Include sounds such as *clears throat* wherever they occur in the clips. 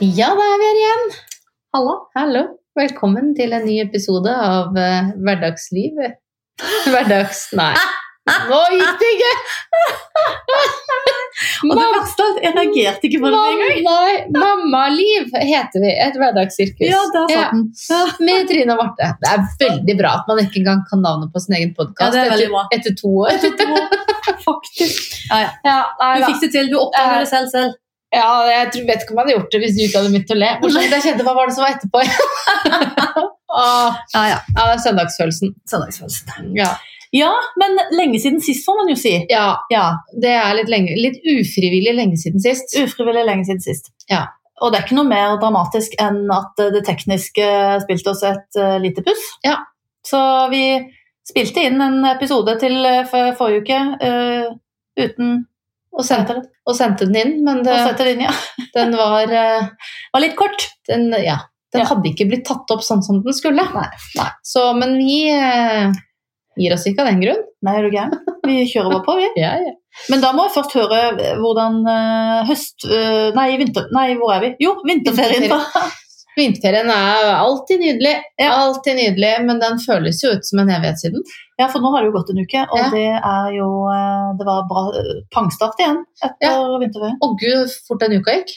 Ja, da er vi her igjen. Halla. Hallo. Velkommen til en ny episode av eh, *laughs* Hverdagsliv. Hverdags... Nei. Nå gikk det ikke! Og det Mam- verste er at jeg reagerte ikke på det med en gang. Mamma, mammaliv heter vi. Et hverdagssirkus. Ja, der Ja, satt den. Ja. Med Trine og Marte. Det er veldig bra at man ikke engang kan navnet på sin egen Ja, podkast det er veldig etter, bra. etter to år. Jeg tror- Faktisk. Ja, nei, Du da. fikk det til. Du oppdaget det selv selv. Ja, jeg tror, vet ikke om jeg hadde gjort det hvis du ikke hadde begynt å le. Morsomt, jeg kjente hva var det som var etterpå. *laughs* Åh, Ja, ja, ja. det er sånn søndagsfølelsen. Søndagsfølelsen. Ja. Ja, men lenge siden sist, får man jo si. ja, Ja, det er litt, lenge, litt ufrivillig lenge siden sist. Ufrivillig lenge siden sist. Ja. Og det er ikke noe mer dramatisk enn at eh, det tekniske spilte oss et eh, lite puss. Ja. Så vi spilte inn en episode til eh, for, forrige uke eh, uten Og sendte, og sendte den inn, men å det, sette det inn, ja. den var eh, Det var litt kort. den, ja, den Ja. hadde ikke blitt tatt opp sånn som den skulle. Så, men vi eh, gir oss ikke av den grunn. Nei, er du gæren? Vi kjører bare på, vi. Ja, ja. Men da må jeg først høre hvordan eh, høst... eh, nei, vinter... Nei, hvor er vi? Jo, vinterferien. Da. Vinterferien er alltid nydelig, Ja. alltid nydelig, men den føles jo ut som en evighet siden. *laughs* Ja, for nå har det jo gått en uke, og Ja. det er jo eh, Det var bra eh, pangstart igjen etter vinterferien. Å gud, fort den uka gikk.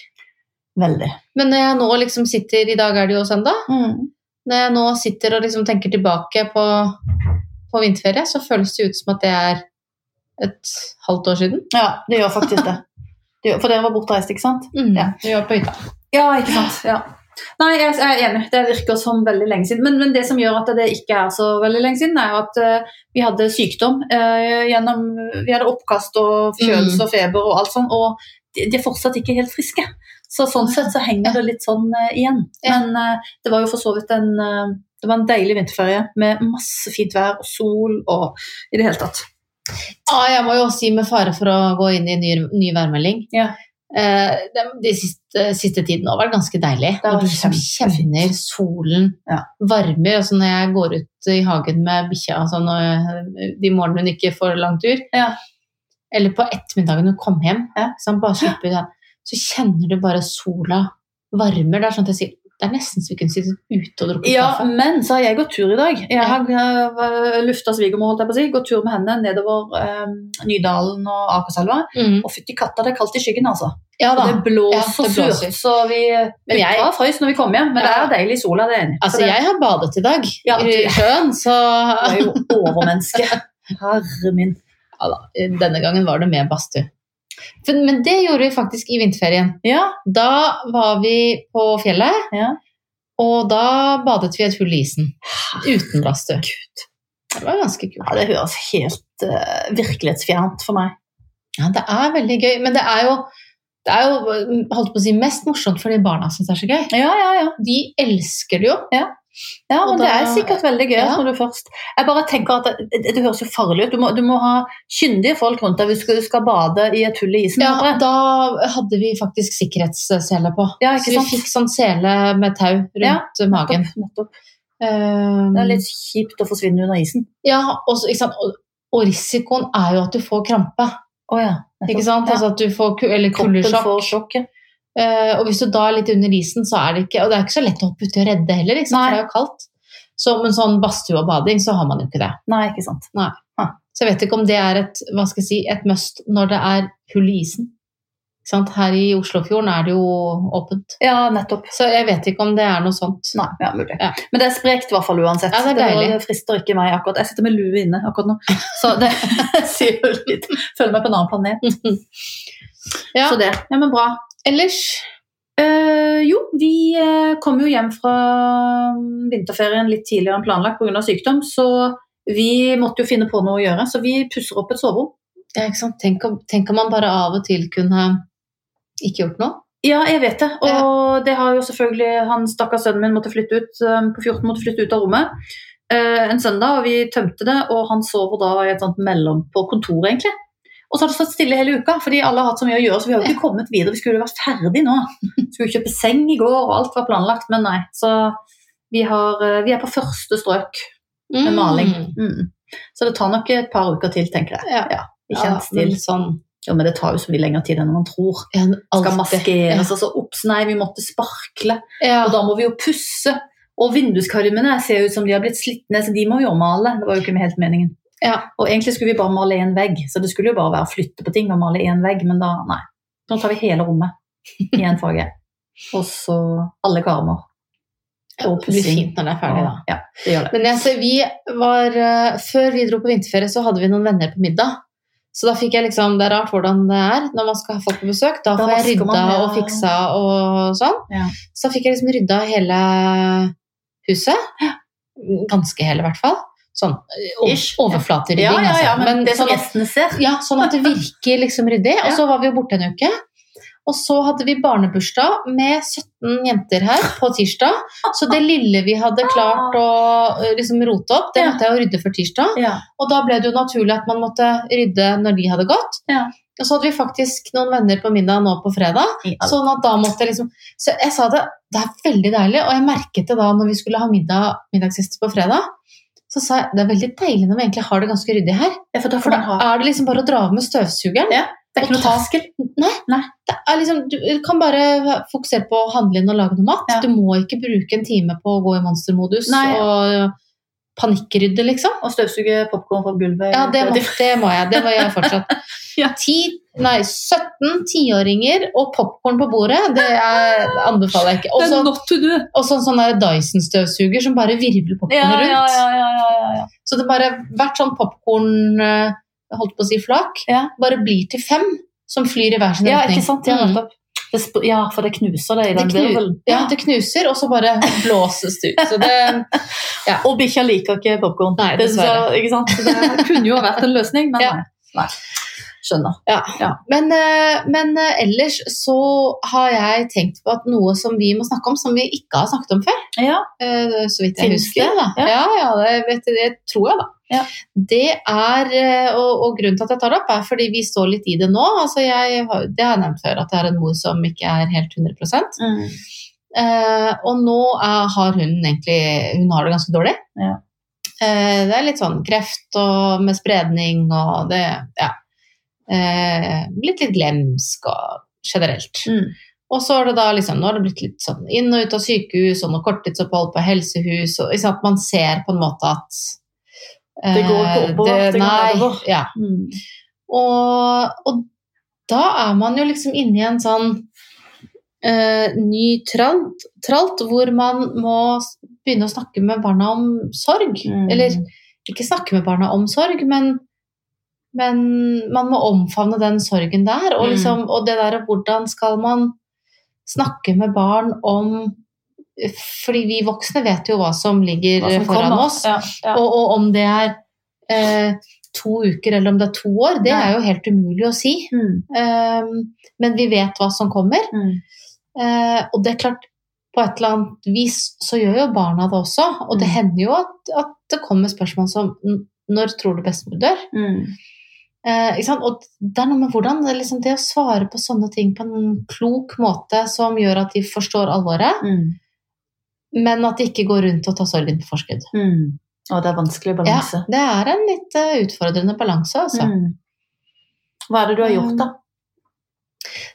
Veldig. Men når jeg nå liksom sitter, i dag er det jo søndag, Mm. når jeg nå sitter og liksom tenker tilbake på, på vinterferie, så føles det ut som at det er et halvt år siden. Ja, det gjør faktisk det. det gjør, for dere var bortreist, ikke sant? Ja, vi var på hytta. Ja, ikke sant. Nei, jeg er enig. Det virker som veldig lenge siden. Men, men det som gjør at det ikke er så veldig lenge siden, er jo at eh, vi hadde sykdom. eh, gjennom, vi hadde oppkast og forkjølelse og feber og alt sånt, og de, de er fortsatt ikke helt friske. Så sånn sett så henger det litt sånn eh, igjen. Ja. Men eh, det var jo for så vidt en, eh, det var en deilig vinterferie med masse fint vær og sol og i det hele tatt. Ja, jeg må jo også si med fare for å gå inn i en ny, ny værmelding. Ja. Eh, de, de siste, siste tiden har vært ganske deilig. Når har du vært liksom kjempefint. kjenner solen Ja. varmer. Og så når jeg går ut i hagen med bikkja altså når, de morgenene hun ikke får lang tur, Ja. eller på ettermiddagen hun kom hjem, Ja. ikke sant, bare slipper ut, her, så kjenner du bare sola varmer. Det er sånn at jeg sier det er nesten så vi kunne sitte ute og drukket Ja, kaffe. men så har jeg gått tur i dag. Jeg har eh, lufta svigermor, holdt jeg på å si. Gått tur med henne nedover eh, Nydalen og Akerselva. Mm. Og fytti katta, det er kaldt i skyggen, altså. Ja Og da. det blåser Ja, og det blåser. surt, så vi Men jeg- var frøys når vi kom hjem. Men det Ja. er deilig i sola, det er jeg enig. i. Altså, Så det, jeg har badet i dag Ja, i du- sjøen, så det er jo *laughs* overmenneske. Herre min. Ja da, eh, denne gangen var det med badstue. For- Men det gjorde vi faktisk i vinterferien. Ja, Da var vi på fjellet, Ja. og da badet vi et hull i isen. Uten badstue. Det var ganske kult. ja det høres helt eh, virkelighetsfjernt for meg. Ja, det er veldig gøy, men det er jo, det er jo holdt på å si, mest morsomt for de barna syns det er så gøy. Ja, ja, ja. De elsker det jo. Ja, Og men da- det er sikkert veldig gøy Ja. når du først Jeg bare tenker at det, det, det høres jo farlig ut. Du må, du må ha kyndige folk rundt deg hvis du skal bade i et hull i isen. Ja, håper jeg. da hadde vi faktisk sikkerhetssele på. ja Så ikke vi sant? fikk sånn sele med tau rundt magen. Nettopp, nettopp. Ehm, Det er litt kjipt å forsvinne under isen. Ja, og, så- ikke sant? og, og risikoen er jo at du får krampe. Å ja. nettopp. Ikke sant? Ja. Altså at du får ku eller Kroppen kuldesjokk. får sjokket. Eh, og hvis du da er litt under isen, så er det ikke Og det er ikke så lett å hoppe uti og redde heller, ikke sant? for Nei. det er jo kaldt. Så, men sånn badstue og bading, så har man jo ikke det. Nei, ikke sant. Så jeg vet ikke om det er et hva skal jeg si, et must når det er hull i isen. Ikke sant? Her i Oslofjorden er det jo åpent. Ja, nettopp. Så jeg vet ikke om det er noe sånt. Nei, ja, mulig. Ja. Men det er sprekt i hvert fall uansett. Ja, det er deilig. det frister ikke meg akkurat. Jeg sitter med lue inne akkurat nå, *laughs* så det sier jo litt. Føler meg på en annen planet. *laughs* Ja. Så det. Ja, men bra. Ellers Eh, jo, vi eh, kom jo hjem fra mm, vinterferien litt tidligere enn planlagt pga. sykdom, så vi måtte jo finne på noe å gjøre. Så vi pusser opp et soverom. ja, ikke sant? Tenk, om, tenk om man bare av og til kunne ikke gjort noe. Ja, jeg vet det. Og det har jo selvfølgelig han stakkars sønnen min måtte flytte ut um, på 14 måtte flytte ut av rommet eh, en søndag, og vi tømte det, og han sover da i et sånt mellom på kontoret, egentlig. Og så har det stått stille hele uka, fordi alle har hatt så mye å gjøre, så vi har jo ikke kommet videre. Vi skulle jo vært ferdig nå. Skulle kjøpe seng i går, og alt var planlagt, men nei. Så vi, har, eh, vi er på første strøk med maling. Mm. Mm. Så det tar nok et par uker til, tenker jeg. Ja. Ikke en men stil. sånn Ja, men det tar jo så mye lengre tid enn man tror. Ja, Skal alltid. maskeres, altså ops, nei, vi måtte sparkle. Ja. Og da må vi jo pusse. Og vinduskarmene ser ut som de har blitt slitt ned, så de må vi jo male. Det var jo ikke helt meningen. Ja. Og egentlig skulle vi bare male én vegg, så det skulle jo bare være å flytte på ting og male én vegg, men da, nei. Nå tar vi hele rommet i én *laughs* farge. Og så alle karmer. Ja, det blir pussing. fint når det er ferdig, da. Ja, det gjør det. Men jeg, ser- vi var, eh, før vi dro på vinterferie, så hadde vi noen venner på middag. Så da fikk jeg liksom Det er rart hvordan det er når man skal ha folk på besøk. Da Da får jeg vasker rydda man, ja. og fiksa og sånn. Ja. Så da fikk jeg liksom rydda hele huset. Ganske hele, i hvert fall. Sånn o- Ish. overflaterydding, Ja, ja, ja, men, altså. Men det som sånn at- gjestene ser ja, sånn at det virker liksom ryddig. Og så var vi jo borte en uke. Og så hadde vi barnebursdag med 17 jenter her på tirsdag. Så det lille vi hadde klart å eh, liksom rote opp, det Ja. måtte jeg jo rydde før tirsdag. ja. Og da ble det jo naturlig at man måtte rydde når de hadde gått. Ja. Og så hadde vi faktisk noen venner på middag nå på fredag. i alt. Sånn at da måtte jeg liksom Så jeg sa det, det er veldig deilig. Og jeg merket det da når vi skulle ha middag, middagsgjester på fredag. Så sa jeg det er veldig deilig når vi egentlig har det ganske ryddig her. Ja, for da får For da man ha er det liksom bare å dra av med støvsugeren. Ja. Det er ikke noe Og ta- terskel. Nei. Nei. Det er liksom, du kan bare fokusere på å handle inn og lage noe mat. Ja. Du må ikke bruke en time på å gå i monstermodus Nei. og panikkrydde, liksom. Og støvsuge popkorn fra gulvet. Ja, det må, det må jeg. Det må jeg fortsatt. *laughs* Ja. Ti, nei, 17 tiåringer og popkorn på bordet, det er, anbefaler jeg ikke. Og Det er så- not to do. Og så en sånn der Dyson-støvsuger som bare virvler popkornet Ja, ja, rundt. ja, ja, ja, ja. Så det bare hvert sånn popkorn eh, holdt på å si flak, Ja. bare blir til fem som flyr i hver sin Ja, retning. ikke sant? Ja, Mm. nettopp. Det sp- ja, for det knuser det i den Det knu- virvelen. ja, det knuser, og så bare blåses det ut. Så det, Og bikkja liker ikke popkorn. Nei, Det, synes jeg- ikke sant? Så det kunne jo ha vært en løsning, men Ja. nei. nei. Skjønner. men, eh, men eh, ellers så har jeg tenkt på at noe som vi må snakke om, som vi ikke har snakket om før, Ja, eh, så vidt jeg Finnes husker. det? Da. Ja. Ja, ja, det, vet, du, det tror jeg, da. Ja. Det er, eh, og, og grunnen til at jeg tar det opp, er fordi vi står litt i det nå. Altså jeg, har- det har jeg nevnt før, at jeg er en mor som ikke er helt 100 Mm. Eh, og nå er, har hun egentlig Hun har det ganske dårlig. Ja. Eh, det er litt sånn kreft og med spredning og det Ja. Eh, blitt litt glemsk og generelt. Mm. Og så er det da liksom Nå har det blitt litt sånn inn og ut av sykehus og noe korttidsopphold på helsehus og ikke sant, Man ser på en måte at eh, Det går ikke oppover, det går nei, nedover. Ja. Mm. Og, og da er man jo liksom inne i en sånn eh, ny tralt, tralt hvor man må s- begynne å snakke med barna om sorg. Mm. Eller ikke snakke med barna om sorg, men, men man må omfavne den sorgen der. Og, Mm. liksom, og det der hvordan skal man snakke med barn om eh, fordi vi voksne vet jo hva som ligger Hva som foran kommer. oss. Ja, ja. Og, og om det er eh, to uker eller om det er to år, det Ja. er jo helt umulig å si. Mm. Ehm, men vi vet hva som kommer. Mm. Eh, og det er klart, på et eller annet vis så gjør jo barna det også. Og det Mm. hender jo at, at det kommer spørsmål som "N- når tror du bestemor dør? Mm. Eh, ikke sant? Og det er noe med hvordan det er liksom det å svare på sånne ting på en klok måte som gjør at de forstår alvoret, Mm. men at de ikke går rundt og tar sorgen på forskudd. Mm. Å, det er vanskelig Ja, balanse. det er en litt eh, utfordrende balanse, altså. Mm. Hva er det du har gjort, da?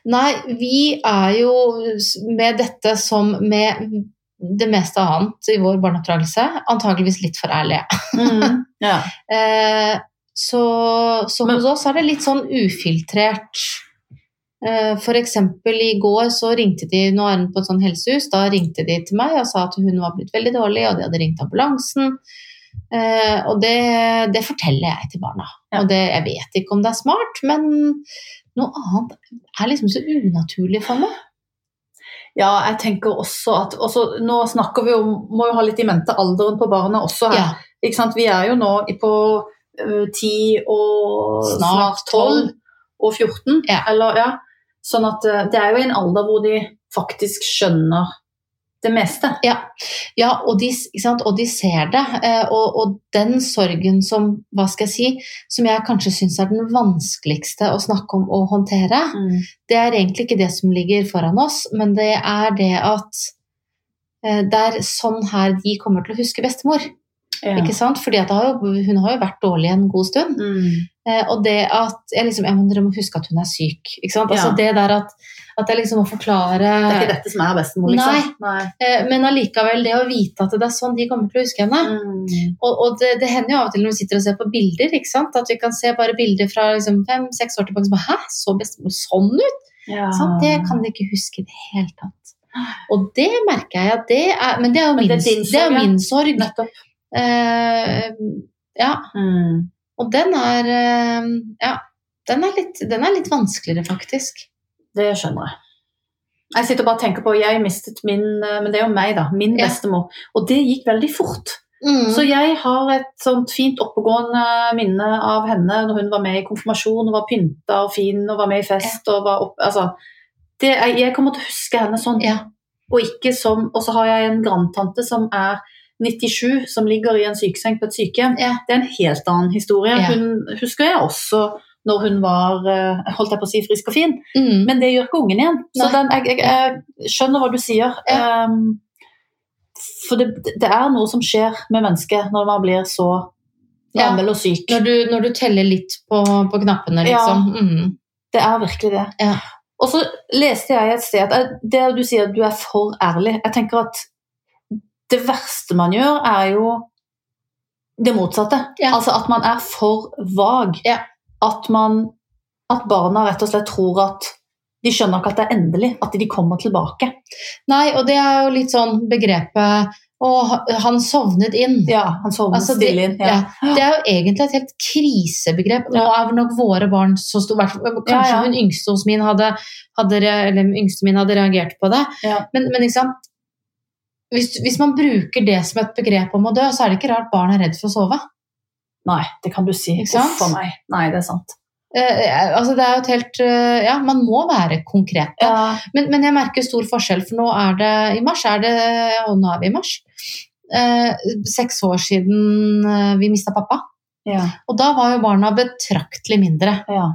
Nei, vi er jo med dette som med det meste annet i vår barneoppdragelse antageligvis litt for ærlige. Mm. *laughs* Ja. Eh, så så Men- hos oss er det litt sånn ufiltrert. Eh, for eksempel i går så ringte de, nå er hun på et sånt helsehus, da ringte de til meg og sa at hun var blitt veldig dårlig, og de hadde ringt ambulansen. Eh, og det, det forteller jeg til barna. Ja. Og det, jeg vet ikke om det er smart, men noe annet er liksom så unaturlig for meg. Ja, jeg tenker også at også, Nå snakker vi jo, må jo ha litt i mente alderen på barna også her. Ja, Ikke sant? Vi er jo nå i- på ø, 10 og Snart snart 12 og 14. Ja. Eller, ja. Sånn at ø, det er jo en alder hvor de faktisk skjønner det meste. ja og, de, ikke sant? og de ser det. Eh, og, og den sorgen som, hva skal jeg si, som jeg kanskje syns er den vanskeligste å snakke om og håndtere, det er egentlig ikke det som ligger foran oss, men det er det at eh, det er sånn her de kommer til å huske bestemor. Ja. Ikke sant? Fordi at det har jo, hun har jo vært dårlig en god stund. Mm. Eh, og det at jeg liksom, jeg, men Dere må huske at hun er syk. Ikke sant? Altså Ja. Det der at, at jeg liksom må forklare Det er ikke dette som er bestemor, liksom. Nei. Eh, Men allikevel, det å vite at det er sånn de kommer til å huske henne. Mm. Og, og det, det hender jo av og til når vi sitter og ser på bilder, ikke sant? at vi kan se bare bilder fra liksom, fem-seks år tilbake. som bare, Hæ, så bestemor sånn ut? Ja. Sant? Sånn, Det kan de ikke huske i det hele tatt. Og det merker jeg at det er Men det er jo Men min, det er din det er sorg, ja. min sorg. Nettopp. Eh, ja, Mm. og den er eh, Ja, den er litt, den er litt vanskeligere, faktisk. Det skjønner jeg. Jeg sitter og bare og tenker på Jeg mistet min eh, Men det er jo meg, da. Min Ja. bestemor. Og det gikk veldig fort. Mm. Så jeg har et sånt fint oppegående minne av henne når hun var med i konfirmasjon og var pynta og fin og var med i fest og var opp... Altså, det, jeg, jeg kommer til å huske henne sånn. ja. Og ikke som Og så har jeg en grandtante som er 97, som ligger i en sykeseng på et sykehjem. Ja. Det er en helt annen historie. Ja. Hun husker jeg også når hun var eh, holdt jeg på å si, frisk og fin. Mm. Men det gjør ikke ungen igjen. Så Nei. den, jeg, jeg, jeg skjønner hva du sier. Ehm, for det, det er noe som skjer med mennesket når man blir så Ja. gammel og syk. Når, du, når du teller litt på, på knappene, liksom. Mm. Det er virkelig det. Ja. Og så leste jeg et sted at eh, det du sier at du er for ærlig. Jeg tenker at det verste man gjør, er jo det motsatte. Ja. Altså at man er for vag. Ja. At man At barna rett og slett tror at de skjønner ikke at det er endelig, at de kommer tilbake. Nei, og det er jo litt sånn begrepet Å, han sovnet inn. Ja, han sovner Altså, det- stille inn. ja. Det er jo egentlig et helt krisebegrep. Nå er vel nok våre barn så store Kanskje Ja, ja. hun yngste hos min hadde, hadde, re- eller yngste min hadde reagert på det. Ja. Men, men ikke sant? Hvis, hvis man bruker det som et begrep om å dø, så er det ikke rart barn er redd for å sove. Nei, det kan du si. Ikke sant? Uff a meg. Nei, det er sant. Eh, eh, altså det er jo et helt eh, Ja, man må være konkret. Ja. Men, men jeg merker stor forskjell, for nå er det i mars er det, Og nå er vi i mars. Eh, seks år siden eh, vi mista pappa. Ja. Og da var jo barna betraktelig mindre. Ja.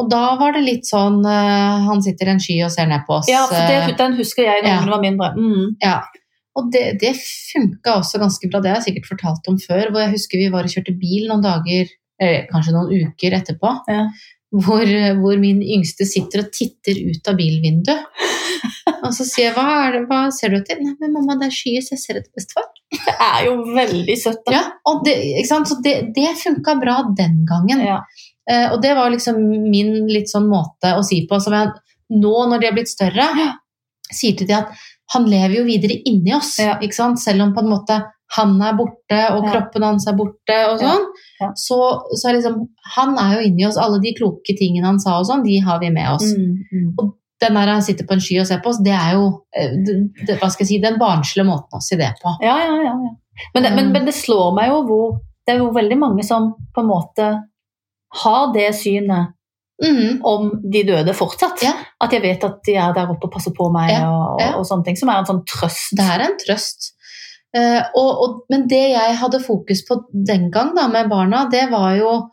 Og da var det litt sånn eh, Han sitter i en sky og ser ned på oss. ja, for eh, det, den husker jeg da Ja. hun var mindre. Mm. ja. Og det, det funka også ganske bra. Det har jeg sikkert fortalt om før. hvor Jeg husker vi var og kjørte bil noen dager, eller kanskje noen uker etterpå. Ja. Hvor, hvor min yngste sitter og titter ut av bilvinduet. Og så sier jeg hva, er det, hva ser du etter? Nei, men mamma, det er skyer, så jeg ser etter bestefar. Det er jo veldig søtt. Ja, og det, ikke sant? Så det, det funka bra den gangen. Ja. Eh, og det var liksom min litt sånn måte å si på, som jeg nå når de er blitt større, sier til de at han lever jo videre inni oss, Ja. ikke sant? selv om på en måte han er borte, og Ja. kroppen hans er borte, og Ja. sånn. Ja. Så, så er liksom, han er jo inni oss, alle de kloke tingene han sa og sånn, de har vi med oss. Mm, mm. Den der han sitter på en sky og ser på oss, det er jo eh, det, det, hva skal jeg si, den barnslige måten å si det på. ja, ja, ja. ja. Men, det, men, Mm. men det slår meg jo hvor Det er jo veldig mange som på en måte har det synet Mhm. om de døde fortsatt. Ja. At jeg vet at de er der oppe og passer på meg Ja, Og, ja. og, og sånne ting. Som er en sånn trøst. Det er en trøst. Eh, og, og, men det jeg hadde fokus på den gang da, med barna, det var jo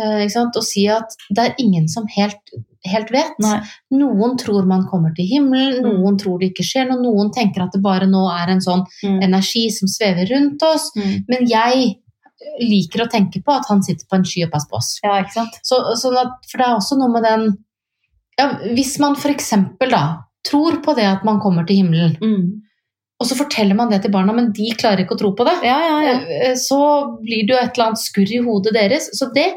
eh, ikke sant, å si at det er ingen som helt, helt vet. Nei. Noen tror man kommer til himmelen, Mm. noen tror det ikke skjer noe, noen tenker at det bare nå er en sånn Mm. energi som svever rundt oss. Mm. Men jeg liker å tenke på at han sitter på en sky og passer på oss. Ja, ikke sant? Så, sånn at, for det er også noe med den ja, Hvis man f.eks. da tror på det at man kommer til himmelen, Mm. og så forteller man det til barna, men de klarer ikke å tro på det. Ja, ja, ja. Eh, Så blir det jo et eller annet skurr i hodet deres. Så det,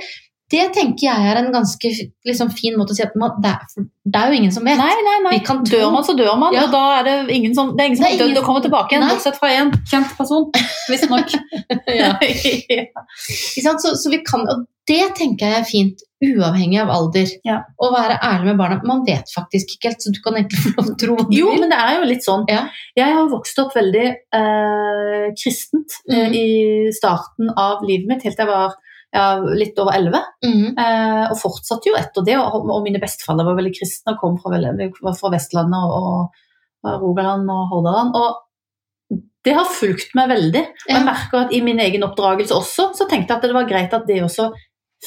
det tenker jeg er en ganske liksom, fin måte å si at man, det, er, for det er jo ingen som vet. Nei, nei, nei. Vi kan tro. Dør man, så dør man. Ja. Og da er det ingen som, det er ingen som Det er har dødd ingen- og kommer tilbake igjen, Nei. bortsett fra én kjent person. Visstnok. *laughs* Ja. ja. Ikke sant? Så, så vi kan, og det tenker jeg er fint, uavhengig av alder. Ja. Å være ærlig med barna. Man vet faktisk ikke helt, så du kan egentlig *laughs* få lov til å tro hva du Jo, vil. men det er jo litt sånn. Ja. Jeg har vokst opp veldig eh, kristent Mhm. i starten av livet mitt, helt til jeg var ja, litt over elleve. Mhm. Eh, og fortsatte jo etter det. Og, og mine besteforeldre var veldig kristne og kom fra, veldig, vi var fra Vestlandet og, og Rogaland og Hordaland. Og det har fulgt meg veldig. Og Ja. jeg merker at i min egen oppdragelse også, så tenkte jeg at det var greit at det også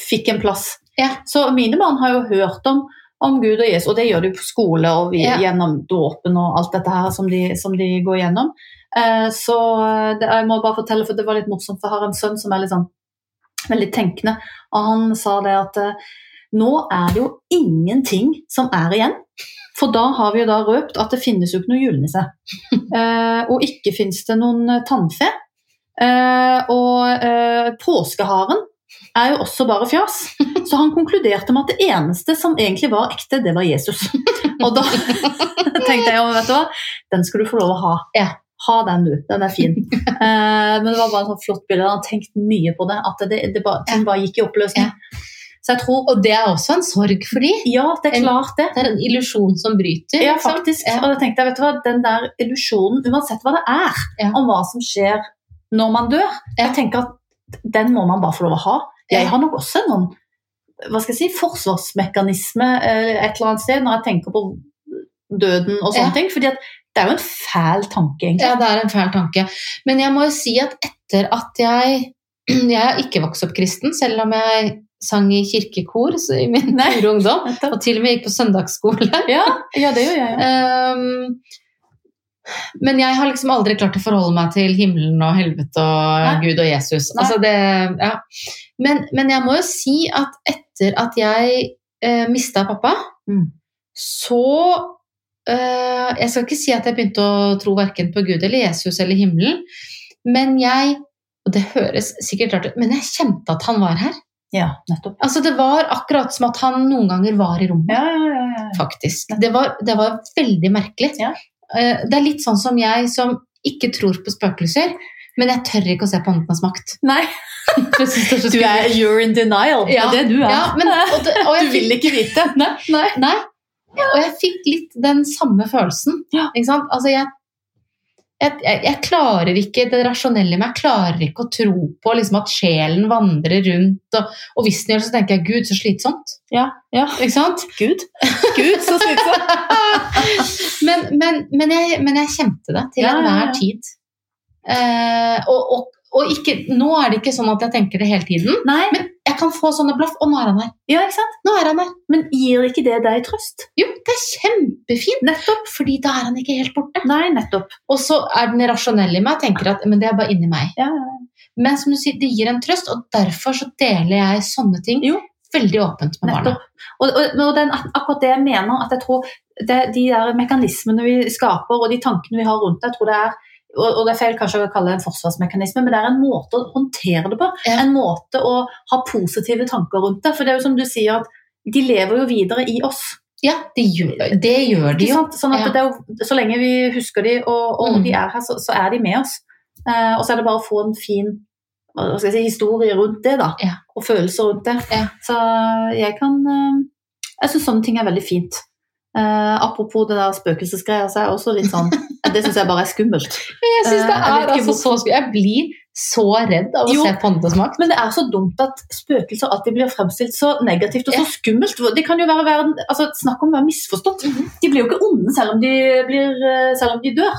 fikk en plass. Ja. Så mine barn har jo hørt om, om Gud og Jesus, og det gjør de på skole og vi, Ja. gjennom dåpen og alt dette her som de, som de går gjennom. Eh, Så det, jeg må bare fortelle, for det var litt morsomt, for jeg har en sønn som er litt sånn veldig tenkende. Og han sa det at eh, nå er det jo ingenting som er igjen. For da har vi jo da røpt at det finnes jo ikke noe julenisse. Eh, og ikke finnes det noen eh, tannfe. Eh, og eh, påskeharen er jo også bare fjas. Så han konkluderte med at det eneste som egentlig var ekte, det var Jesus. Og da *laughs* tenkte jeg jo, vet du hva, den skal du få lov å ha. Ja. Ha den du, den er fin. Eh, men det var bare et sånt flott bilde. Han har tenkt mye på det. At det, det bare, ting bare gikk i oppløsning. Så jeg tror Og det er også en sorg for de. Ja, det er klart det. Det er en illusjon som bryter. Ja, liksom. faktisk. Ja. Og da tenkte jeg, vet du hva, den der illusjonen, uansett hva det er, Ja. om hva som skjer når man dør, Ja. jeg tenker at den må man bare få lov å ha. Jeg Ja. har nok også noen, hva skal jeg si, forsvarsmekanisme eh, et eller annet sted når jeg tenker på døden og sånne Ja. ting, fordi at det er jo en fæl tanke, egentlig. Ja, det er en fæl tanke. Men jeg må jo si at etter at jeg *clears throat* Jeg har ikke vokst opp kristen, selv om jeg sang i kirkekor så i min Nei. store ungdom. Nettopp. Og til og med gikk på søndagsskole. Ja, ja, det gjør jeg. ja. Ehm, men jeg har liksom aldri klart å forholde meg til himmelen og helvete og Nei. Gud og Jesus. Nei. Altså det, ja. men, men jeg må jo si at etter at jeg eh, mista pappa, Mm. så eh, Jeg skal ikke si at jeg begynte å tro verken på Gud eller Jesus eller himmelen, men jeg og det høres sikkert rart ut, men jeg kjente at han var her. Ja, nettopp. Altså Det var akkurat som at han noen ganger var i rommet Ja, ja, ja. ja. faktisk. Det var, det var veldig merkelig. Ja. Eh, Det er litt sånn som jeg som ikke tror på spøkelser, men jeg tør ikke å se på åndenes makt. Nei, For *laughs* jeg synes det er så du er, skummelt. you're in denial. Ja. Det er det du er. ja, men, og det, og jeg, *laughs* Du vil ikke vite. Nei. Nei. fikk- Nei. Og jeg fikk litt den samme følelsen. Ja. Ikke sant? Altså, jeg, jeg, jeg, jeg klarer ikke det rasjonelle i meg. Jeg klarer ikke å tro på liksom, at sjelen vandrer rundt. Og, og hvis den gjør det, så tenker jeg gud, så slitsomt. Ja, ja. Ikke sant? Gud. Gud, så slitsomt. men, men, men, jeg, men jeg kjente det til Ja, ja, ja. enhver tid. Eh, og og, og ikke, nå er det ikke sånn at jeg tenker det hele tiden. Nei, Men jeg kan få sånne blaff. Og nå er han her! ja, ikke sant? Nå er han her. Men gir ikke det deg trøst? Jo, det er kjempefint! Nettopp. Fordi da er han ikke helt borte. Nei, nettopp. Og så er den rasjonelle i meg tenker at men det er bare inni meg. Ja, Men som du sier, det gir en trøst, og derfor så deler jeg sånne ting Jo. veldig åpent med barna. nettopp. Og, og, og den, ak- akkurat det jeg mener, at jeg tror det, de der mekanismene vi skaper, og de tankene vi har rundt det, jeg tror det er og og Det er feil kanskje å kalle det en forsvarsmekanisme, men det er en måte å håndtere det på. Ja. En måte å ha positive tanker rundt det. For det er jo som du sier, at de lever jo videre i oss. Ja, det gjør, det gjør de Ikke jo. sant? Sånn at Ja. det er jo, så lenge vi husker de og, og Mm. de er her, så, så er de med oss. Eh, og så er det bare å få en fin hva skal jeg si, historie rundt det, da. Ja. Og følelser rundt det. Ja. Så jeg kan eh, Jeg syns sånne ting er veldig fint. Eh, apropos det der spøkelsesgreia, så er jeg også litt sånn *laughs* Det syns jeg bare er skummelt. Jeg synes det Eh, er jeg vet ikke altså så skummelt. Jeg blir så redd av å Jo. se på åndenes makt. Men det er så dumt at spøkelser alltid blir fremstilt så negativt og så Ja. skummelt. Det kan jo være verden, altså Snakk om å være misforstått. De blir jo ikke onde selv om de, blir, eh, selv om de dør.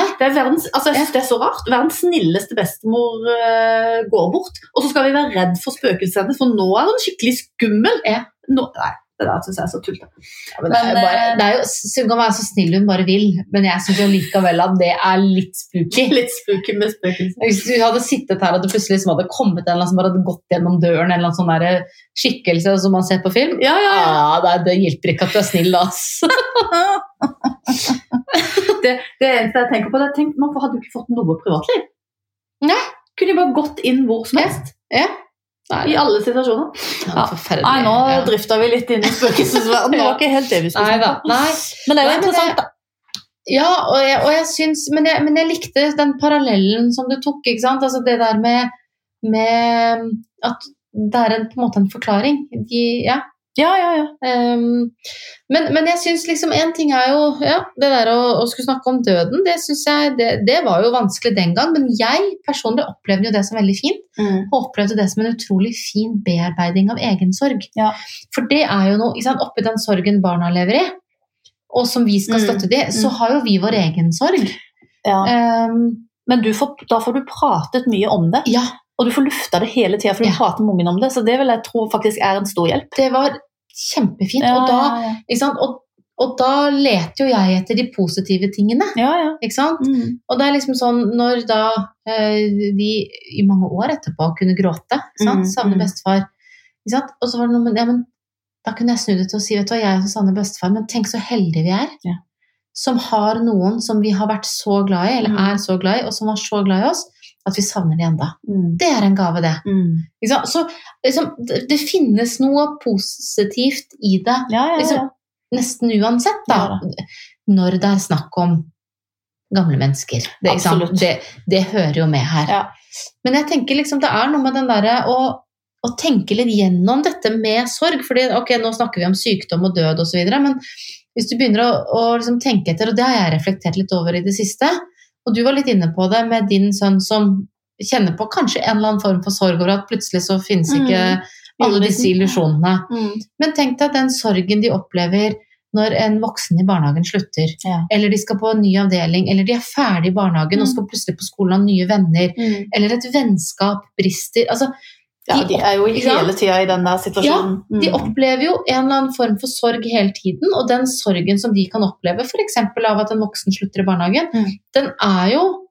Nei. Det er verdens, altså jeg synes det er så rart. Verdens snilleste bestemor eh, går bort, og så skal vi være redd for spøkelset hennes, for nå er hun skikkelig skummel. Ja. Nå, nei, det der syns jeg er så tullete. det er jo Men, bare, eh, det er jo, hun kan være så snill hun bare vil, men jeg syns likevel at det er litt spooky. *laughs* Litt spooky med spøkelser. Hvis du hadde sittet her og det plutselig liksom hadde kommet en eller annen som bare hadde gått gjennom døren, en eller annen sånn der skikkelse som man ser på film Ja, ja, ja. ah, det, det hjelper ikke at du er snill, ass. *laughs* det, det eneste jeg tenker på, det er tenk, man hadde jo ikke fått noe privatliv. Nei. Kunne de bare gått inn hvor som Ja. helst, Nei, i alle situasjoner. det er Ja. forferdelig. Nei, nå Ja. drifta vi litt inn i spøkelsesverdenen. Det var ikke helt det vi skulle Nei da. snakke om. Nei. Men det Nei, er jo men interessant, da. Ja, og jeg, og jeg syns men jeg, men jeg likte den parallellen som du tok, ikke sant? Altså det der med, med at det er en, på en måte en forklaring. De, ja. Ja, ja, ja. ehm, men, men jeg syns liksom én ting er jo ja, det der å, å skulle snakke om døden, det syns jeg det, det var jo vanskelig den gang, men jeg personlig opplevde jo det Mm. som veldig fint. Og opplevde det som en utrolig fin bearbeiding av egen sorg. Ja. For det er jo noe ikke sant, Oppi den sorgen barna lever i, og som vi skal Mm. støtte de, så Mm. har jo vi vår egen sorg. Ja. Ehm, Men du får, da får du pratet mye om det, ja, og du får lufta det hele tida, for du Ja. prater med ungen om det. Så det vil jeg tro faktisk er en stor hjelp. det var kjempefint. og da, ja, ja. ikke sant? Og, Og da leter jo jeg etter de positive tingene, Ja, ja. ikke sant. Mm. Og det er liksom sånn når da eh, de i mange år etterpå kunne gråte, ikke sant? Mm, savne mm. bestefar, ikke sant? og så var det noe med ja, men da kunne jeg snu det til å si vet du hva, jeg også savner bestefar, men tenk så heldige vi er. Ja. Som har noen som vi har vært så glad i, eller Mm. er så glad i, og som var så glad i oss, at vi savner de enda. Mm. Det er en gave, det. Mm. Ikke sant? Så liksom, det, det finnes noe positivt i det Ja, ja, Liksom, ja. nesten uansett, da. Når det er snakk om gamle mennesker. Det, ikke sant? Absolutt. det, det hører jo med her. Ja. Men jeg tenker liksom, det er noe med den derre å, å tenke litt gjennom dette med sorg. fordi ok, nå snakker vi om sykdom og død osv., men hvis du begynner å, å liksom tenke etter, og det har jeg reflektert litt over i det siste, og du var litt inne på det med din sønn som kjenner på kanskje en eller annen form for sorg over at plutselig så finnes ikke Mm. alle disse illusjonene. Mm. Men tenk deg den sorgen de opplever når en voksen i barnehagen slutter, Ja. eller de skal på en ny avdeling, eller de er ferdig i barnehagen og Mm. skal plutselig på skolen ha nye venner, Mm. eller et vennskap brister. Altså, Ja, de er jo Ikke sant? hele tida i den der situasjonen. de Mm. opplever jo en eller annen form for sorg hele tiden, og den sorgen som de kan oppleve f.eks. av at en voksen slutter i barnehagen, Mm. den er jo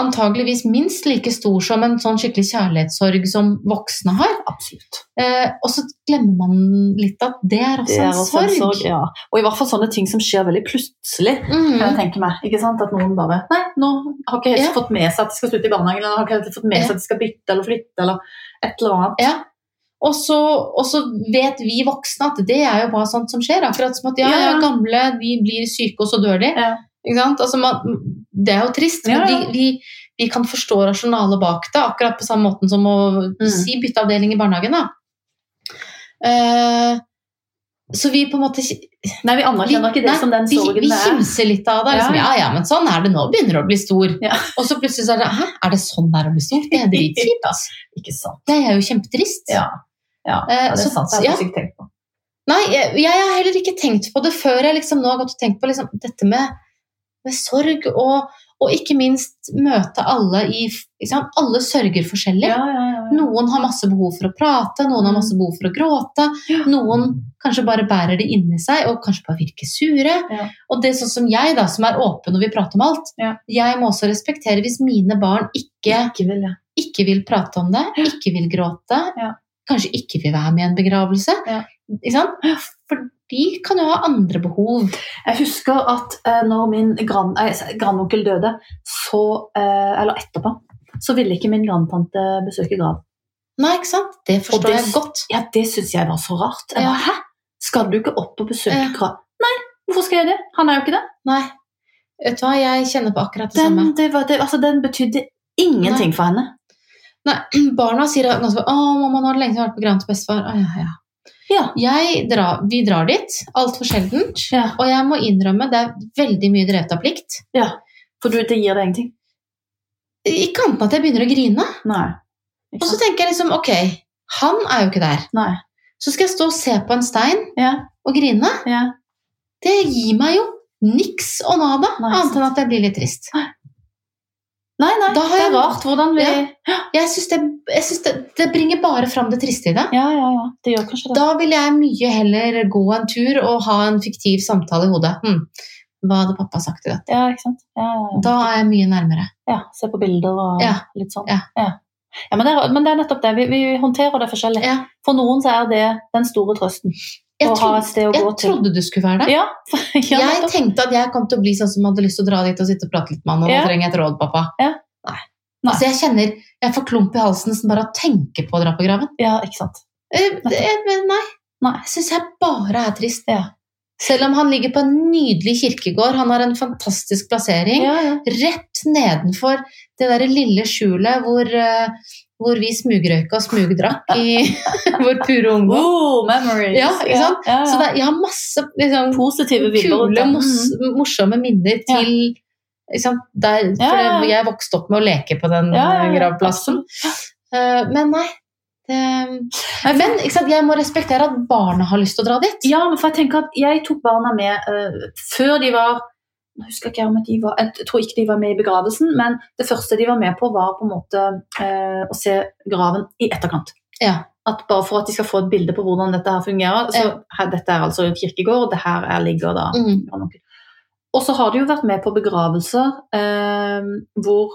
antageligvis minst like stor som en sånn skikkelig kjærlighetssorg som voksne har. Absolutt. Eh, og så glemmer man litt at det er også Det er en også sorg. en sorg. Ja. Og i hvert fall sånne ting som skjer veldig plutselig. Mm. kan jeg tenke meg. Ikke sant? At noen bare Nei, nå har ikke helt Ja. fått med seg at de skal slutte i barnehagen, eller har ikke helt fått med Ja. seg at de skal bytte eller flytte, eller et eller annet. Ja. Og så, og så vet vi voksne at det er jo bare sånt som skjer. Akkurat som at ja, Ja, ja. ja, gamle de blir syke, og så dør de. Ja. Ikke sant? Altså, man, det er jo trist, men Ja, ja. Vi, vi, vi kan forstå rasjonalet bak det. Akkurat på samme måten som å Mm. si bytte avdeling i barnehagen. Da. Eh, så vi på en måte Nei, vi anerkjenner ikke det Nei, som den vi, sorgen vi det er. kimser litt av det. Ja, Liksom, ja, ja, men sånn er det nå. Begynner å bli stor. Ja. *laughs* Og så plutselig så er det Hæ, er det sånn det er å bli stor? Det er dritkjipt, ass. Ikke sant. Det er jo kjempetrist. Ja. Ja, Eh, ja, det er så- sant. Det har ja. jeg sikkert tenkt på. Nei, jeg, jeg har heller ikke tenkt på det før jeg liksom nå har gått og tenkt på liksom, dette med, med sorg, og, og ikke minst møte alle i ikke sant? Alle sørger forskjellig. Ja, ja, ja, ja. Noen har masse behov for å prate, noen har masse behov for å gråte. Ja. Noen kanskje bare bærer det inni seg og kanskje bare virker sure. Ja. Og det er sånn som jeg, da, som er åpen og vil prate om alt, Ja. jeg må også respektere hvis mine barn ikke Ikke vil jeg. ikke vil prate om det, ikke vil gråte, Ja. kanskje ikke vil være med i en begravelse. Ja. Ikke sant? For de kan jo ha andre behov. Jeg husker at eh, når min gran, eh, grandonkel døde, så eh, Eller etterpå, så ville ikke min grandtante besøke graven. Nei, ikke sant? Det Og forstår det- jeg godt. Ja, det syns jeg var så rart. Jeg Ja. bare, Hæ? Skal du ikke opp og besøke Ja. graven? Nei, hvorfor skal jeg det? Han er jo ikke det. Nei. Vet du hva, jeg kjenner på akkurat det Den, samme. det var, det, altså, den betydde ingenting for henne. Nei, barna sier ganske Å, mamma, nå har det lenge siden jeg har vært på Gran til bestefar. Å, ja, ja. Ja. Jeg drar, vi drar dit altfor sjeldent. Ja. Og jeg må innrømme, det er veldig mye drevet av plikt. For du, det gir deg ingenting. Ikke annet enn at jeg begynner å grine. Nei. Og så tenker jeg liksom, ok, han er jo ikke der. Nei. Så skal jeg stå og se på en stein Ja, og grine. ja. Det gir meg jo niks og nada, Nei, annet enn at jeg blir litt trist. Nei, nei, Da har det jeg- er rart hvordan vi Ja. Jeg synes det, jeg synes det, det bringer bare fram det triste i det. ja, ja. ja. Det gjør kanskje det. Da vil jeg mye heller gå en tur og ha en fiktiv samtale i hodet. Hm, hva hadde pappa sagt til dette? Ja, ikke sant? Ja, ja, ja. Da er jeg mye nærmere. ja, se på bilder og Ja. litt sånn. Ja. Ja. Ja, men, det er, men det er nettopp det. Vi, vi håndterer det forskjellig. Ja. For noen så er det den store trøsten. Jeg å ha trodde, et sted å gå jeg til. *laughs* trodde du skulle være der. Ja. ja, Jeg nettopp. tenkte at jeg kom til å bli sånn som hadde lyst til å dra dit og sitte og prate litt med han, og nå Ja. trenger jeg et råd, pappa. Ja. Nei. Nei. Altså, jeg kjenner jeg får klump i halsen som bare av å tenke på å dra på graven. ja, ikke sant. Eh, det- men Nei. Nei. Jeg syns jeg bare er trist. Ja. Selv om han ligger på en nydelig kirkegård, han har en fantastisk plassering. Ja, ja. Rett nedenfor det derre lille skjulet hvor, eh, hvor vi smugrøyka og smugdrakk i *laughs* vår pure ungdom. Wow, memories! Ja, ikke sant? Ja, ja, ja. Så det, jeg har masse liksom, Positive vibber. kule, rundt det. mos, Mm. morsomme minner til ikke sant, der, Ja, ja, ja. For jeg vokste opp med å leke på den Ja, ja, eh, ja. gravplassen. Eh, Men nei. Det, Nei, men ikke sant, jeg må respektere at barna har lyst til å dra dit. Ja, men for jeg tenker at jeg tok barna med eh, før de var jeg husker ikke om de var, jeg tror ikke de var med i begravelsen, men det første de var med på, var på en måte eh, å se graven i etterkant. Ja. At bare for at de skal få et bilde på hvordan dette her fungerer så her, Dette er altså en kirkegård, og det her er, ligger da Mhm. Og så har de jo vært med på begravelser eh, hvor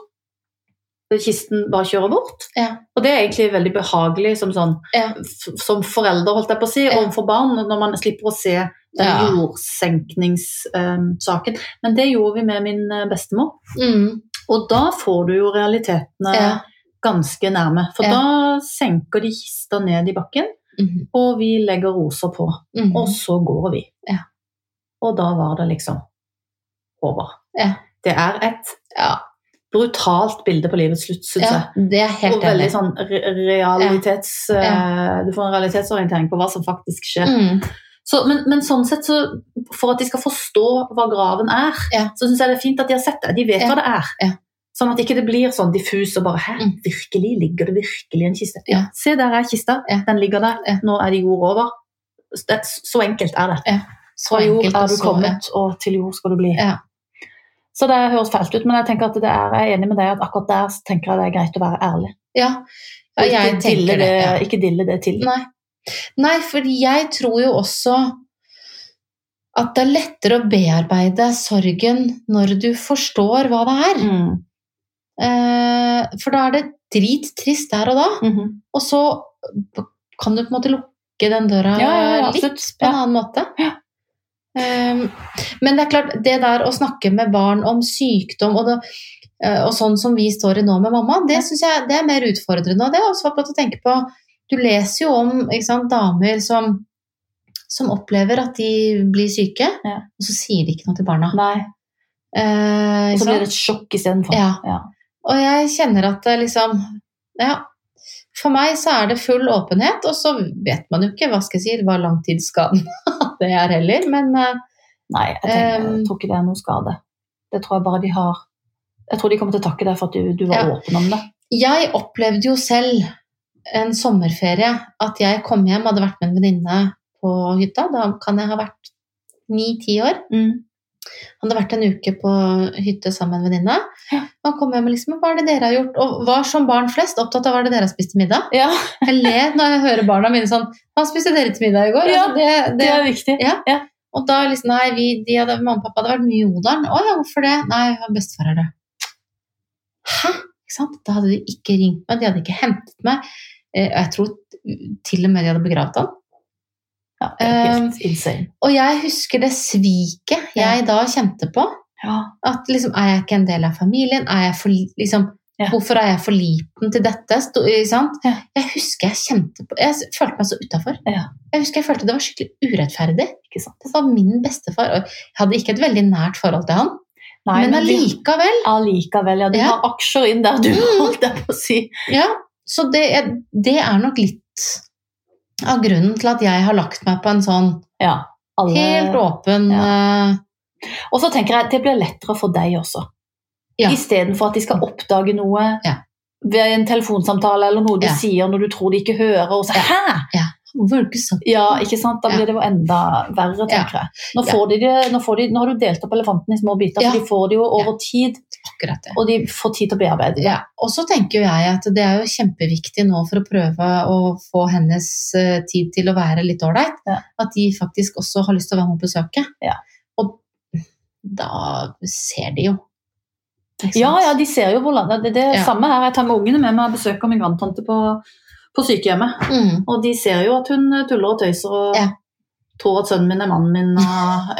kisten bare kjører bort. Ja. Og det er egentlig veldig behagelig som, sånn, Ja. f- som forelder, holdt jeg på å si, Ja. overfor barn, når man slipper å se den Ja. jordsenkningssaken. Men det gjorde vi med min eh, bestemor. Mm. Og da får du jo realitetene Ja. ganske nærme. For Ja. da senker de kista ned i bakken, Mhm. og vi legger roser på. Mhm. Og så går vi. Ja. Og da var det liksom over. Ja. Det er et Ja. brutalt bilde på livets slutt, syns ja, jeg. det er jeg Og helt veldig enig. sånn re- realitets... Ja. eh, Du får en realitetsorientering på hva som faktisk skjer. Mm. Så, men, men sånn sett, så, for at de skal forstå hva graven er, Ja. så syns jeg det er fint at de har sett det. De vet Ja. hva det er. Ja. Sånn at ikke det blir sånn diffus og bare Hæ, Mm. virkelig? Ligger det virkelig en kiste? Ja. Se, der er kista. Ja. Den ligger der. Ja. Nå er det jord over. Det, så enkelt er det. Fra jord enkelt er og du så- kommet, og til jord skal du bli. Ja. Så det høres fælt ut, men jeg tenker at det er, jeg er enig med deg at akkurat der så tenker jeg det er greit å være ærlig. Ja, ja Og jeg ikke, tenker dille det, det. Ja. ikke dille det til. Nei. Nei, for jeg tror jo også at det er lettere å bearbeide sorgen når du forstår hva det er. Mm. Eh, For da er det drittrist der og da, Mhm. og så eh, kan du på en måte lukke den døra Ja, ja, ja, litt absolutt. på en Ja. annen måte. Ja. Ehm, men det er klart, det der å snakke med barn om sykdom og, det, eh, og sånn som vi står i nå med mamma, det synes jeg det er mer utfordrende. Og det er også godt å tenke på. Du leser jo om ikke sant, damer som, som opplever at de blir syke, Ja. og så sier de ikke noe til barna. Nei. Eh, Og ikke så sant? blir det et sjokk istedenfor. Ja. Ja. Og jeg kjenner at det liksom Ja. For meg så er det full åpenhet, og så vet man jo ikke hva skal jeg si, hva *laughs* langtidsskaden det er heller, men eh, Nei, jeg, tenker, Um, jeg tror ikke det er noen skade. Det tror jeg bare de har Jeg tror de kommer til å takke deg for at du, du var Ja. åpen om det. jeg opplevde jo selv en sommerferie at jeg kom hjem, hadde vært med en venninne på hytta, da kan jeg ha vært ni-ti år. Han hadde vært en uke på hytte sammen med en venninne. Ja. Og han kom hjem og liksom Hva er det dere har gjort? Og var som barn flest opptatt av hva er det dere har spist til middag. Ja, Jeg ler når jeg hører barna mine sånn Hva spiste dere til middag i går? Ja, altså, det, det det, er viktig. Ja. Og da liksom, nei, vi, de hadde, mamma og pappa hadde vært mye i Odalen. Å ja, hvorfor det? Nei, jeg har bestefar her, du. Hæ? Ikke sant? Da hadde de ikke ringt meg, de hadde ikke hentet meg. Eh, og jeg tror til og med de hadde begravd han. Ja, det er Ehm. helt insane. Og jeg husker det sviket jeg da kjente på. Ja. At liksom, er jeg ikke en del av familien? Er jeg for, li- liksom, Ja. Hvorfor er jeg for liten til dette? Sto, ikke sant? Ja. Jeg husker jeg kjente på Jeg s- følte meg så utafor. Ja. Jeg husker jeg følte det var skikkelig urettferdig. Ikke sant? Det var min bestefar. Og jeg hadde ikke et veldig nært forhold til han, Nei, men men de- allikevel. allikevel, ja. Du Ja. Mm. har aksjer inn der du holdt jeg på å si. Ja, så det er, det er nok litt av grunnen til at jeg har lagt meg på en sånn Ja. Alle... helt åpen eh, Og så tenker jeg at det blir lettere for deg også. Ja. Mm. Istedenfor at de skal oppdage noe Ja. ved en telefonsamtale eller noe du Ja. sier når du tror de ikke hører. Og så, Hæ? Hvorfor er det ikke sånn? Ja, ikke sant? Da blir det jo enda verre, tenker jeg. Nå, Ja. får de det, nå, får de, nå har du delt opp elefanten i små biter, Ja. så de får det jo over tid, Akkurat det. og de får tid til å bearbeide det. Ja, og så tenker jo jeg at det er jo kjempeviktig nå for å prøve å få hennes eh, tid til å være litt ålreit, Ja. at de faktisk også har lyst til å være med på besøket. Ja. Og da ser de jo. Ikke sant? Ja, ja, de ser jo hvor landet Det er det Ja. samme her. Jeg tar med ungene med meg og besøker min grandtante på, på sykehjemmet. Mm. Og de ser jo at hun eh, tuller og tøyser og Ja. tror tror at sønnen min er mannen min. Og,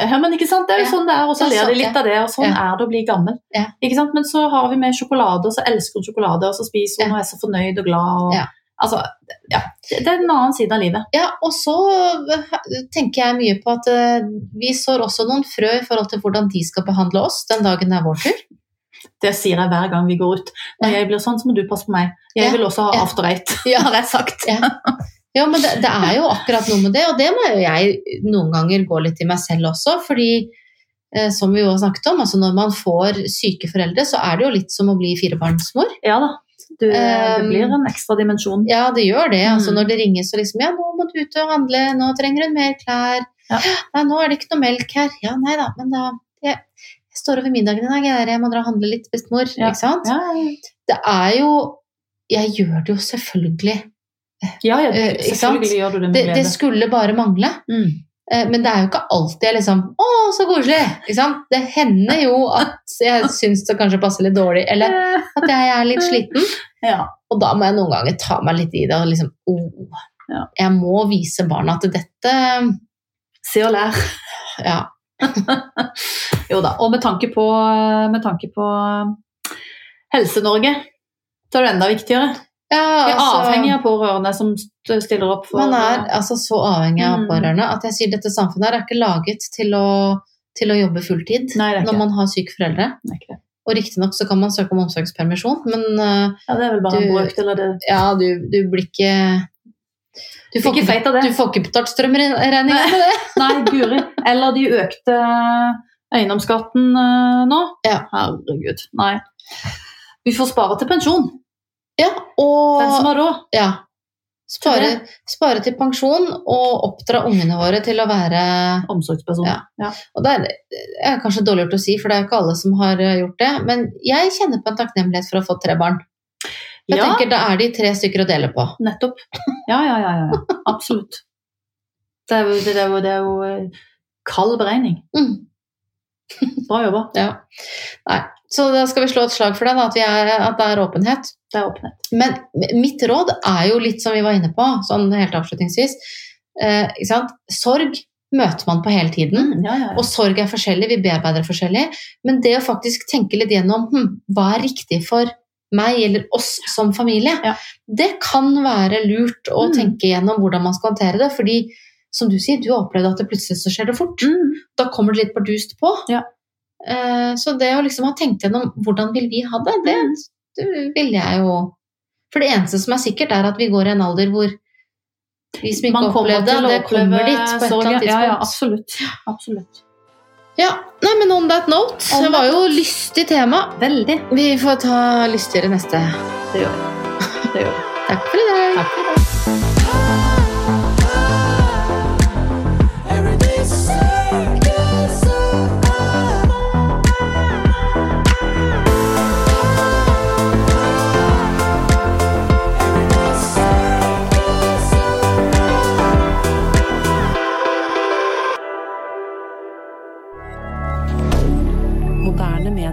*laughs* ja, men ikke sant? Det er jo Ja. sånn det er, og så Det er ler de sant, litt av det. Og sånn er det å bli gammel. Ja. Ikke sant? Men så har vi med sjokolade, og så elsker hun sjokolade, og så spiser hun og er så fornøyd og glad. Og, Ja. Altså, ja. Det det er en annen side av livet. Ja, og så eh, tenker jeg mye på at eh, vi sår også noen frø i forhold til hvordan de skal behandle oss den dagen det er vår tur. Det sier jeg hver gang vi går ut. Når jeg blir sånn, så må du passe på meg. Jeg Ja. vil også ha Ja. after eight, Ja. har jeg sagt. Ja. Ja, men det, det er jo akkurat noe med det, og det må jo jeg noen ganger gå litt i meg selv også, fordi eh, som vi jo har snakket om, altså når man får syke foreldre, så er det jo litt som å bli firebarnsmor. Ja da. Du, eh, det Um, blir en ekstra dimensjon. Ja, det gjør det. Altså Mm. når det ringes og liksom Ja, nå må du ut og handle, nå trenger hun mer klær. Ja. Nei, nå er det ikke noe melk her. Ja, nei da, men da Jeg, jeg står over middagen i dag, jeg, jeg må dra og handle litt, bestemor. Ja. Ikke sant? Ja, det er jo Jeg gjør det jo selvfølgelig Ja, ja, Eh, det, ikke sant? selvfølgelig gjør du det med Det, det glede. skulle bare mangle. Mm. Eh, Men det er jo ikke alltid jeg liksom Å, så koselig! Ikke sant? Det hender jo at jeg syns det kanskje passer litt dårlig, eller at jeg er litt sliten. Mm. Eh, Ja. Og da må jeg noen ganger ta meg litt i det og liksom oh, Ja. Jeg må vise barna at dette Se og lær. *laughs* Ja. Jo da. Og med tanke på, med tanke på eh, Helse-Norge, så er det enda viktigere. ja Vi er altså, avhengig av pårørende som st- stiller opp for Man er altså så avhengig av Mm. pårørende at jeg sier dette samfunnet her er ikke laget til å, til å jobbe fulltid Nei, det er ikke når man har syke foreldre. Det er ikke det. Og riktignok så kan man søke om omsorgspermisjon, men eh, Ja, det er vel bare Du- en brøkdel av det. ja, du, du blir ikke Du Ikke får ikke, feit av det. du får ikke betalt strømregninga på det. Nei, guri. Eller de økte eh, eiendomsskatten eh, nå. Ja. Herregud. Nei. Vi får spare til pensjon, Ja, den som og har råd. ja, Til spare, spare til pensjon og oppdra ungene våre til å være Omsorgsperson. Ja. Og det er, det er kanskje dårlig gjort å si, for det er ikke alle som har eh, gjort det. Men jeg kjenner på en takknemlighet for å ha fått tre barn. Jeg Ja. tenker, Da er de tre stykker å dele på. Nettopp. Ja, ja, ja. ja, ja. Absolutt. Det er jo, det er jo, det er jo eh, kald beregning. Mm. Bra jobba. Nei. Så da skal vi slå et slag for det, da, at, vi er, at det er åpenhet. Det er åpenhet. Men mitt råd er jo litt som vi var inne på, sånn helt avslutningsvis. Eh, ikke sant? Sorg møter man på hele tiden. Ja, ja, ja. Og sorg er forskjellig, vi bearbeider det forskjellig. Men det å faktisk tenke litt gjennom hm, hva er riktig for meg eller oss som familie, Ja. det kan være lurt å Mm. tenke gjennom hvordan man skal håndtere det. fordi som du sier, du har opplevd at det plutselig så skjer det fort. Mm. Da kommer det litt bardust på. Ja. Eh, så det å liksom ha tenkt gjennom hvordan vil vi ha det, det, Mm. det ville jeg jo For det eneste som er sikkert, er at vi går i en alder hvor vi som ikke Man kommer opplevde til å det, kommer oppleve dit på et sorg, eller annet tidspunkt. Ja, ja, absolutt. absolutt. Ja, nei, men on that note, On det var jo lystig tema. Veldig. Vi får ta lystigere neste. Det gjør jeg. Det gjør jeg. Takk for i dag. Takk for det.